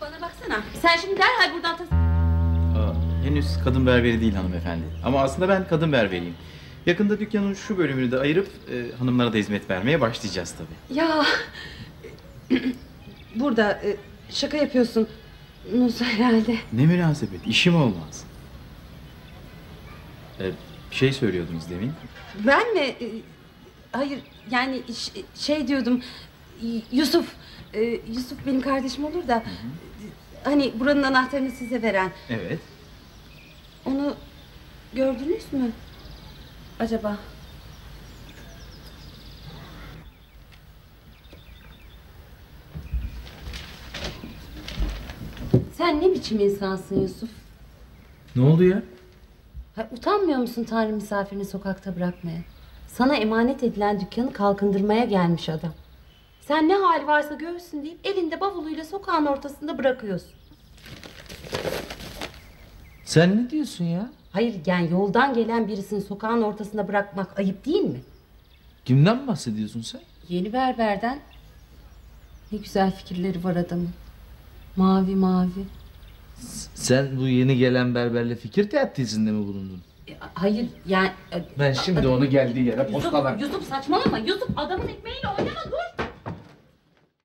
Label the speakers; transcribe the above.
Speaker 1: Bana baksana. Sen şimdi derhal buradan tas...
Speaker 2: Aa, henüz kadın berberi değil hanımefendi. Ama aslında ben kadın berberiyim. Yakında dükkanın şu bölümünü de ayırıp e, hanımlara da hizmet vermeye başlayacağız tabii.
Speaker 3: Ya burada e, şaka yapıyorsun. Musa herhalde.
Speaker 2: Ne münasebet, işim olmaz. Ee, bir şey söylüyordunuz demin.
Speaker 3: Ben mi? E, Hayır yani ş- şey diyordum. Y- Yusuf. e, Yusuf benim kardeşim olur da. Hani buranın anahtarını size veren.
Speaker 2: Evet.
Speaker 3: Onu gördünüz mü? Acaba? Sen ne biçim insansın Yusuf?
Speaker 2: Ne oldu ya?
Speaker 3: Ha, utanmıyor musun Tanrı misafirini sokakta bırakmaya? Sana emanet edilen dükkanı kalkındırmaya gelmiş adam. Sen ne hali varsa görsün deyip elinde bavuluyla sokağın ortasında bırakıyorsun.
Speaker 2: Sen ne diyorsun ya?
Speaker 3: Hayır yani yoldan gelen birisini sokağın ortasında bırakmak ayıp değil mi?
Speaker 2: Kimden bahsediyorsun sen?
Speaker 3: Yeni berberden. Ne güzel fikirleri var adamın. Mavi mavi.
Speaker 4: Sen bu yeni gelen berberle fikir teatrisinde mi bulundun?
Speaker 3: E, hayır yani... e,
Speaker 4: Ben şimdi onu geldiği yere
Speaker 3: Yusuf, Yusuf saçmalama. Yusuf adamın ekmeğiyle oynama dur.